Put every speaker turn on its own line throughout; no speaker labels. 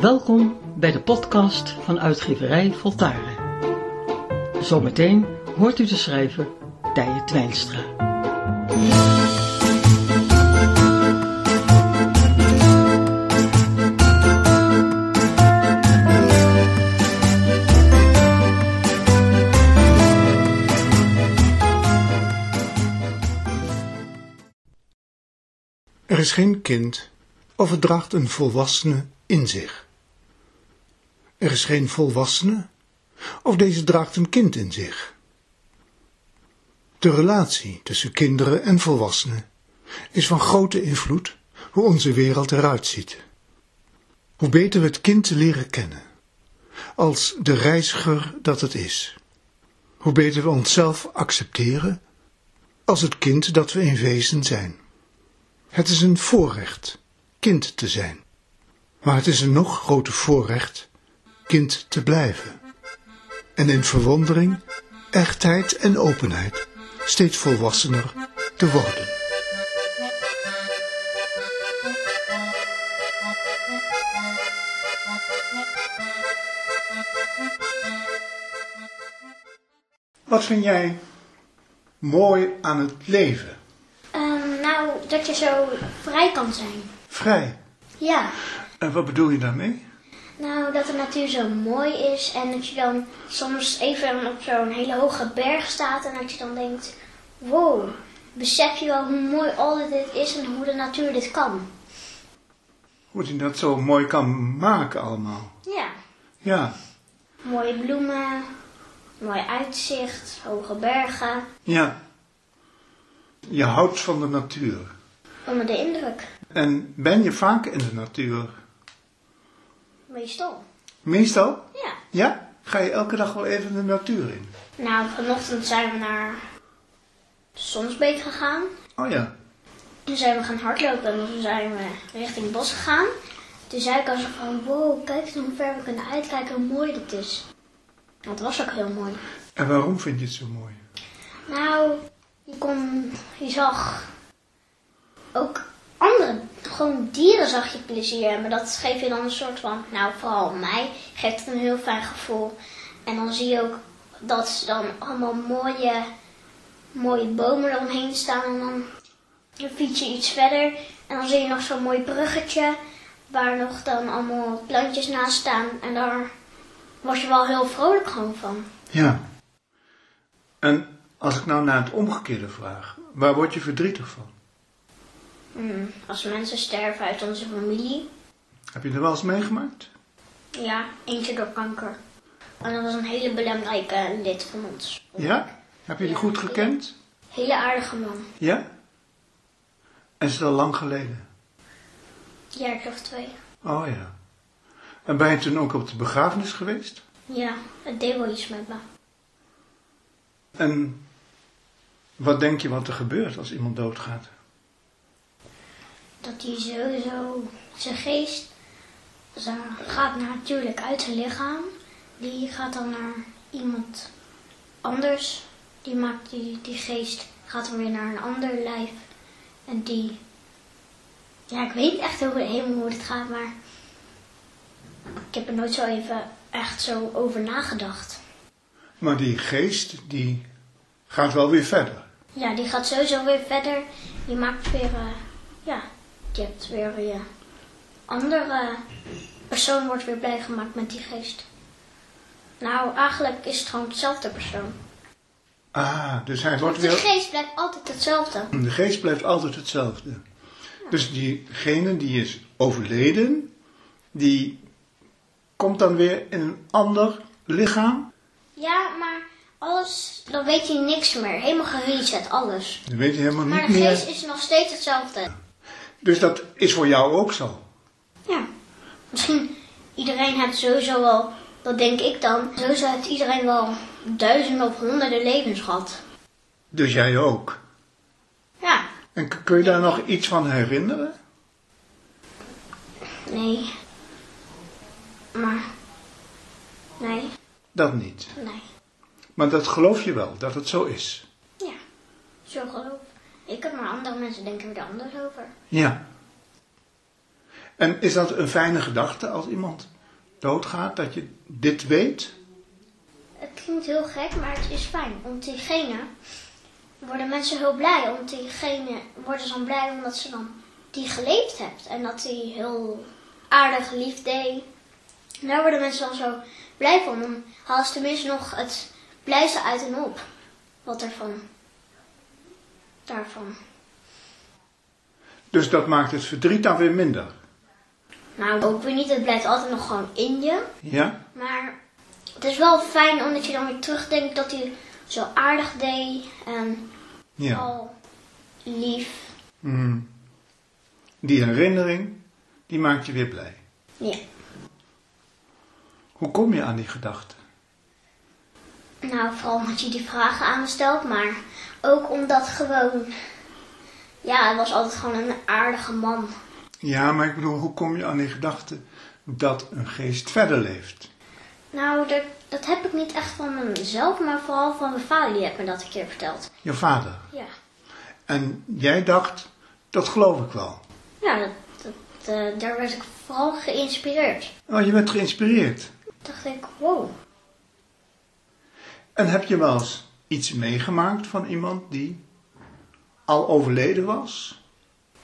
Welkom bij de podcast van uitgeverij Voltaren. Zometeen hoort u de schrijver Dijen Twijnstra.
Er is geen kind of het draagt een volwassene in zich. Er is geen volwassene of deze draagt een kind in zich. De relatie tussen kinderen en volwassenen is van grote invloed hoe onze wereld eruit ziet. Hoe beter we het kind leren kennen, als de reiziger dat het is. Hoe beter we onszelf accepteren als het kind dat we in wezen zijn. Het is een voorrecht kind te zijn. Maar het is een nog groter voorrecht kind te blijven. En in verwondering, echtheid en openheid steeds volwassener te worden. Wat vind jij mooi aan het leven?
Ehm, nou, dat je zo vrij kan zijn.
Vrij.
Ja.
En wat bedoel je daarmee?
Nou, dat de natuur zo mooi is en dat je dan soms even op zo'n hele hoge berg staat en dat je dan denkt, wow, besef je wel hoe mooi al dit is en hoe de natuur dit kan.
Hoe hij dat zo mooi kan maken allemaal.
Ja.
Ja,
Mooie bloemen, mooi uitzicht, hoge bergen,
ja. Je houdt van de natuur.
onder de indruk.
En ben je vaak in de natuur?
Meestal.
Meestal?
Ja.
Ja? Ga je elke dag wel even de natuur in?
Nou, vanochtend zijn we naar Sonsbeek gegaan.
Oh ja.
Toen zijn we gaan hardlopen en toen zijn we richting het bos gegaan. Toen zei ik al zo van, wow, kijk eens hoe ver we kunnen uitkijken, hoe mooi dit is. Dat was ook heel mooi.
En waarom vind je het zo mooi?
Nou, je, kon, je zag ook andere, gewoon dieren zag je plezier. Maar dat geeft je dan een soort van, nou vooral mij, geeft het een heel fijn gevoel. En dan zie je ook dat ze dan allemaal mooie, mooie bomen eromheen staan. En dan fiets je iets verder en dan zie je nog zo'n mooi bruggetje. Waar nog dan allemaal plantjes naast staan. En daar was je wel heel vrolijk gewoon van.
Ja. En als ik nou naar het omgekeerde vraag, waar word je verdrietig van?
Hmm, Als mensen sterven uit onze familie,
Heb je er wel eens meegemaakt?
Ja, eentje door kanker. En dat was een hele belangrijke lid van ons.
Ja? Heb je die
Ja.
goed gekend?
Hele aardige man.
Ja? En is het al lang geleden?
Jaar of twee.
Oh ja. En ben je toen ook op de begrafenis geweest?
Ja, het deed wel iets met me.
En wat denk je wat er gebeurt als iemand doodgaat?
Dat hij sowieso zijn geest zijn- gaat natuurlijk uit zijn lichaam. Die gaat dan naar iemand anders. Die maakt die, die geest, gaat dan weer naar een ander lijf. En die. Ja, ik weet niet echt hoe, helemaal hoe het gaat, maar. Ik heb er nooit zo even echt zo over nagedacht.
Maar die geest, die gaat wel weer verder.
Ja, die gaat sowieso weer verder. Je maakt weer, eh, ja, je hebt weer je andere persoon wordt weer blij gemaakt met die geest. Nou, eigenlijk is het gewoon hetzelfde persoon.
Ah, dus hij wordt
De
weer...
geest blijft altijd hetzelfde.
De geest blijft altijd hetzelfde. Dus diegene die is overleden, die komt dan weer in een ander lichaam.
Ja, maar alles, dan weet je niks meer. Helemaal gereset, alles.
Dan weet je helemaal
Maar
niet
de geest
meer.
is nog steeds hetzelfde.
Dus dat is voor jou ook zo.
Ja. Misschien iedereen heeft sowieso wel, dat denk ik dan, sowieso heeft iedereen wel duizenden of honderden levens gehad.
Dus jij ook.
Ja,
En k- kun je daar nog iets van herinneren?
Nee. Maar. Nee,
Dat niet.
nee.
Maar dat geloof je wel, dat het zo is.
Ja. Zo geloof ik. Ik heb maar andere mensen denken er anders over.
Ja. En is dat een fijne gedachte als iemand doodgaat, dat je dit weet?
Het klinkt heel gek, maar het is fijn. Om diegene worden mensen heel blij. Om diegene worden ze dan blij omdat ze dan die geleefd hebt. En dat hij heel aardig lief deed. En Daar worden mensen dan zo blij van. Dan halen ze tenminste nog het blijste uit en op. Wat ervan. Daarvan.
Dus dat maakt het verdriet dan weer minder.
Maar ook weer Nou, niet, het blijft altijd nog gewoon in je.
Ja?
Maar het is wel fijn omdat je dan weer terugdenkt dat hij zo aardig deed. En
Ja.
al lief.
Mhm. Die herinnering, die maakt je weer blij.
Ja.
Hoe kom je aan die gedachte?
Nou, vooral omdat je die vragen aan me stelt, maar ook omdat gewoon. Ja, hij was altijd gewoon een aardige man.
Ja, maar ik bedoel, hoe kom je aan die gedachte dat een geest verder leeft?
Nou, dat, dat heb ik niet echt van mezelf, maar vooral van mijn vader, die heeft me dat een keer verteld.
Je vader.
Ja.
En jij dacht, dat geloof ik wel.
Ja, dat, dat, eh, daar werd ik vooral geïnspireerd.
Oh, je bent geïnspireerd.
Dacht ik, wow.
En heb je wel eens iets meegemaakt van iemand die al overleden was?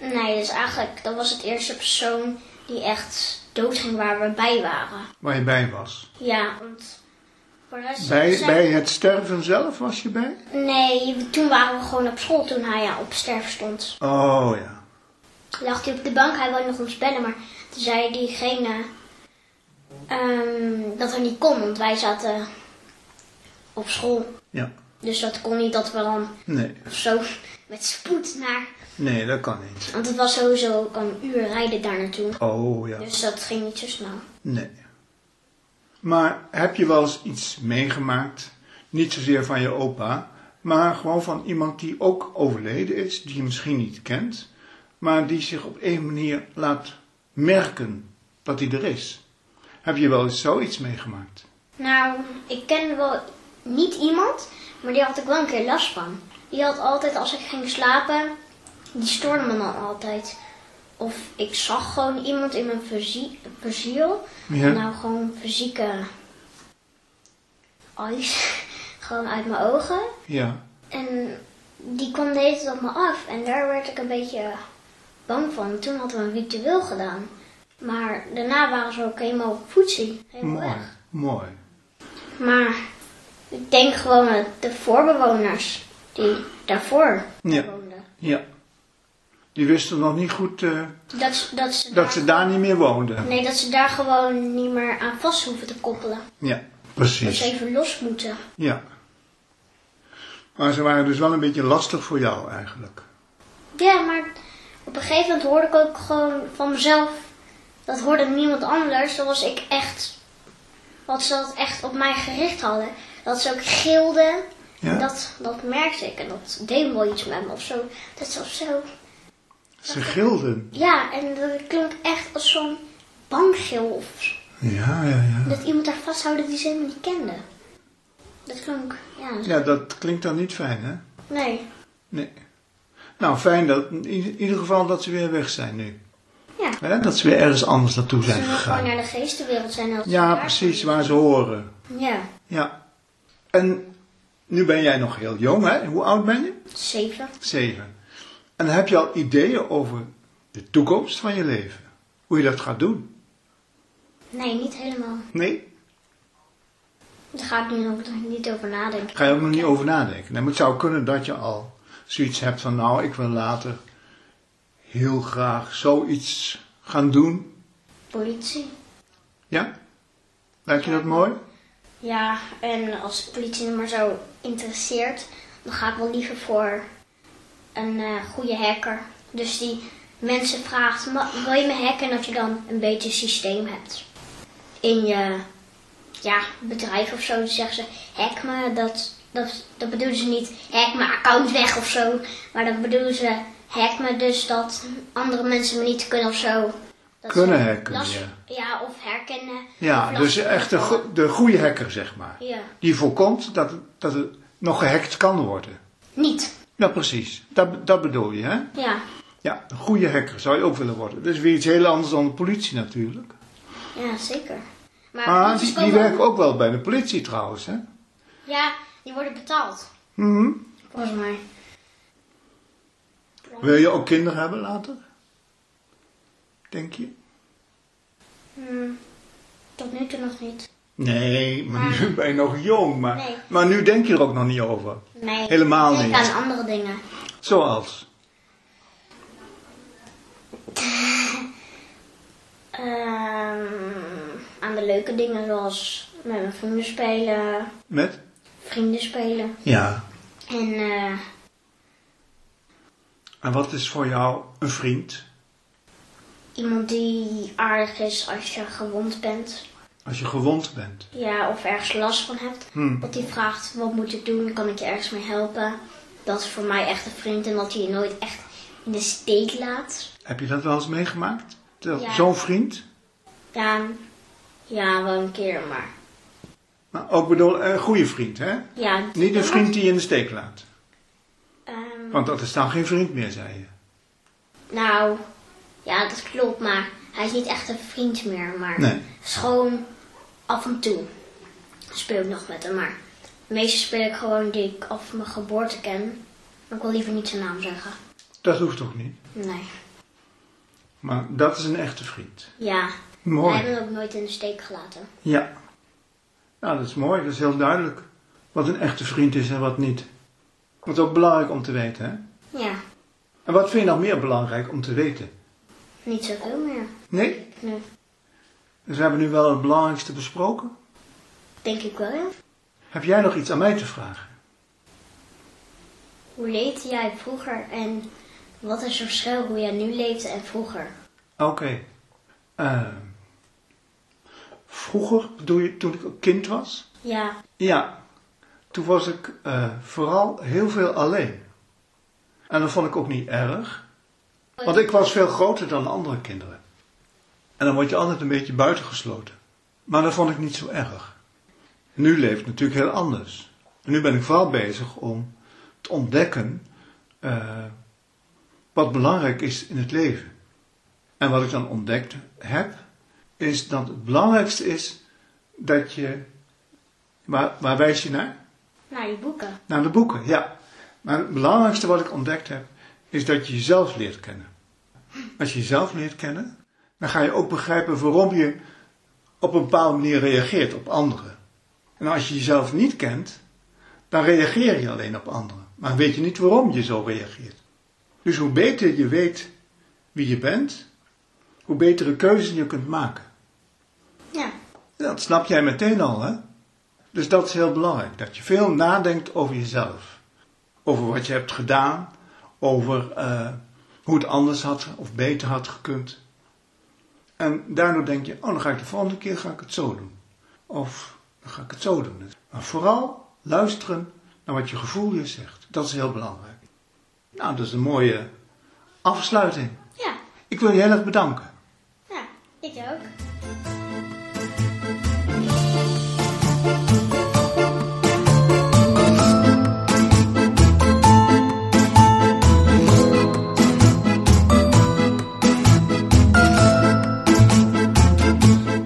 Nee, dus eigenlijk, dat was het eerste persoon die echt doodging waar we bij waren.
Waar je bij was.
Ja, want. Voor de rest
Bij,
zijn-
bij het sterven zelf was je bij?
Nee, toen waren we gewoon op school toen hij ja, op sterven stond.
Oh ja.
lag hij op de bank. Hij wilde nog ons bellen, maar toen zei diegene ehm, dat hij niet kon, want wij zaten op school.
Ja.
Dus dat kon niet dat we dan
Nee.
zo met spoed naar...
Nee, dat kan niet.
Want het was sowieso ook een uur rijden daar naartoe.
Oh ja.
Dus dat ging niet zo snel.
Nee. Maar heb je wel eens iets meegemaakt? Niet zozeer van je opa, maar gewoon van iemand die ook overleden is, die je misschien niet kent, maar die zich op een manier laat merken dat hij er is. Heb je wel eens zoiets meegemaakt?
Nou, ik ken wel niet iemand, maar die had ik wel een keer last van. Die had altijd, als ik ging slapen, die stoorde me dan altijd. Of ik zag gewoon iemand in mijn verzie- verziel.
Ja.
Nou, gewoon fysieke ijs. gewoon uit mijn ogen.
Ja.
En die kwam de hele tijd op me af. En daar werd ik een beetje bang van. Toen hadden we een ritueel gedaan. Maar daarna waren ze ook helemaal voetsie. Helemaal
Mooi.
weg.
Mooi.
Maar ik denk gewoon dat de voorbewoners die daarvoor
Ja.
woonden.
Ja. Die wisten nog niet goed eh,
Dat, dat, ze
dat ze daar niet meer woonden.
Nee, dat ze daar gewoon niet meer aan vast hoeven te koppelen.
Ja,
Dat
precies.
ze even los moeten.
Ja. Maar ze waren dus wel een beetje lastig voor jou eigenlijk.
Ja, maar op een gegeven moment hoorde ik ook gewoon van mezelf. Dat hoorde niemand anders. Dat was ik echt. Wat ze dat echt op mij gericht hadden. Dat ze ook gilden.
Ja?
Dat, dat merkte ik. En dat deed wel iets met me of zo. Dat ze of zo.
Ze gilden.
Ja, en dat klinkt echt als zo'n banggil. Of
Ja, ja, ja.
dat iemand daar vasthouden die ze helemaal niet kende. Dat klonk, ja.
Ja, dat klinkt dan niet fijn, hè?
Nee.
Nee. Nou, fijn dat in i- in ieder geval dat ze weer weg zijn nu.
Ja.
Hè? Dat ze weer ergens anders naartoe
Ze
zijn
willen gewoon
gegaan.
naar de geestenwereld zijn. en dat ze
Ja,
daar-
precies, waar ze horen.
Ja.
Ja. En nu ben jij nog heel jong, hè? Hoe oud ben je?
Zeven.
Zeven. En heb je al ideeën over de toekomst van je leven? Hoe je dat gaat doen?
Nee, niet helemaal.
Nee?
Daar ga ik nu ook nog niet over nadenken.
Ga je ook nog niet over nadenken. Nee, maar het zou kunnen dat je al zoiets hebt van, nou, ik wil later heel graag zoiets gaan doen.
Politie.
Ja? Lijkt je dat mooi?
Ja, en als de politie me maar zo interesseert, dan ga ik wel liever voor een eh, goede hacker. Dus die mensen vraagt, "Ma- wil je me hacken? En dat je dan een beetje systeem hebt. In je ja, bedrijf of zo, dan zeggen ze, hack me. Dat, dat, dat bedoelen ze niet, hack mijn account weg of zo. Maar dat bedoelen ze, hack me dus dat andere mensen me niet kunnen of zo. Dat ze
Kunnen hacken,
last-
ja.
Ja, of herkennen.
Ja,
of
dus
last-
echt de, go- de goede hacker, zeg maar.
Ja,
Die voorkomt dat, het- dat het nog gehackt kan worden.
niet.
Ja, precies. Dat, dat bedoel je, hè?
Ja,
Ja, een goede hacker zou je ook willen worden. Dat is weer iets heel anders dan de politie natuurlijk.
Ja, zeker. Maar
Maar
het is
Ah, die,
wel
die
wel-
werken ook wel bij de politie trouwens, hè?
Ja, die worden betaald.
Mhm.
Volgens mij.
Wil je ook kinderen hebben later? Denk je?
Hmm, tot nu toe nog niet.
Nee, maar
Maar-
nu ben je nog jong. Maar,
Nee.
maar nu denk je er ook nog niet over.
Nee.
Helemaal
ik denk
niet.
aan andere dingen.
Zoals?
Ehm, aan de leuke dingen zoals met mijn vrienden spelen,
Met?
vrienden spelen.
Ja.
En eh,
En wat is voor jou een vriend?
iemand die aardig is als je gewond bent.
Als je gewond bent.
Ja, of ergens last van hebt.
Hmm.
Dat die vraagt, wat moet ik doen? Kan ik je ergens mee helpen? Dat is voor mij echt een vriend en dat hij je nooit echt in de steek laat.
Heb je dat wel eens meegemaakt? Dat-
Ja.
Zo'n vriend?
Ja, ja, wel een keer, maar...
Maar Nou, ook bedoel, een goede vriend, hè?
Ja,
Niet een vriend die je in de steek laat.
Ehm,
Want dat is dan geen vriend meer, zei je.
nou, ja, dat klopt, maar hij is niet echt een vriend meer. Maar
Nee.
is gewoon af en toe speel ik nog met hem. Maar meestal speel ik gewoon die ik af mijn geboorte ken. Maar ik wil liever niet zijn naam zeggen.
Dat hoeft toch niet?
Nee.
Maar dat is een echte vriend.
Ja.
Mooi.
Hij heeft me ook nooit in de steek gelaten.
Ja. Nou, dat is mooi. Dat is heel duidelijk. Wat een echte vriend is en wat niet. Dat is ook belangrijk om te weten, hè?
Ja,
En wat vind je nog meer belangrijk om te weten?
niet zoveel meer.
Nee?
Nee.
Dus we hebben nu wel het belangrijkste besproken.
Denk ik wel, ja.
Heb jij nog iets aan mij te vragen?
Hoe leefde jij vroeger en wat is het verschil hoe jij nu leeft en vroeger?
Oké. Ehm, vroeger, bedoel je toen ik een kind was?
Ja,
Ja, toen was ik eh, vooral heel veel alleen. En dat vond ik ook niet erg, want ik was veel groter dan andere kinderen. En dan word je altijd een beetje buitengesloten. Maar dat vond ik niet zo erg. Nu leeft het natuurlijk heel anders. En nu ben ik vooral bezig om te ontdekken eh, wat belangrijk is in het leven. En wat ik dan ontdekt heb, is dat het belangrijkste is dat je Waar, waar wijs je naar?
naar je boeken.
Naar de boeken, ja. Maar het belangrijkste wat ik ontdekt heb, is dat je jezelf leert kennen. Als je jezelf leert kennen, dan ga je ook begrijpen waarom je op een bepaalde manier reageert op anderen. En als je jezelf niet kent, dan reageer je alleen op anderen. Maar weet je niet waarom je zo reageert. Dus hoe beter je weet wie je bent, hoe betere keuzes je kunt maken.
Ja,
Dat snap jij meteen al, hè? Dus dat is heel belangrijk, dat je veel nadenkt over jezelf. Over wat je hebt gedaan, over eh, hoe het anders had of beter had gekund. En daardoor denk je, oh, dan ga ik de volgende keer ga ik het zo doen. Of dan ga ik het zo doen. Maar vooral luisteren naar wat je gevoel je zegt. Dat is heel belangrijk. Nou, dat is een mooie afsluiting.
ja,
Ik wil je heel erg bedanken.
ja, ik ook.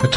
Het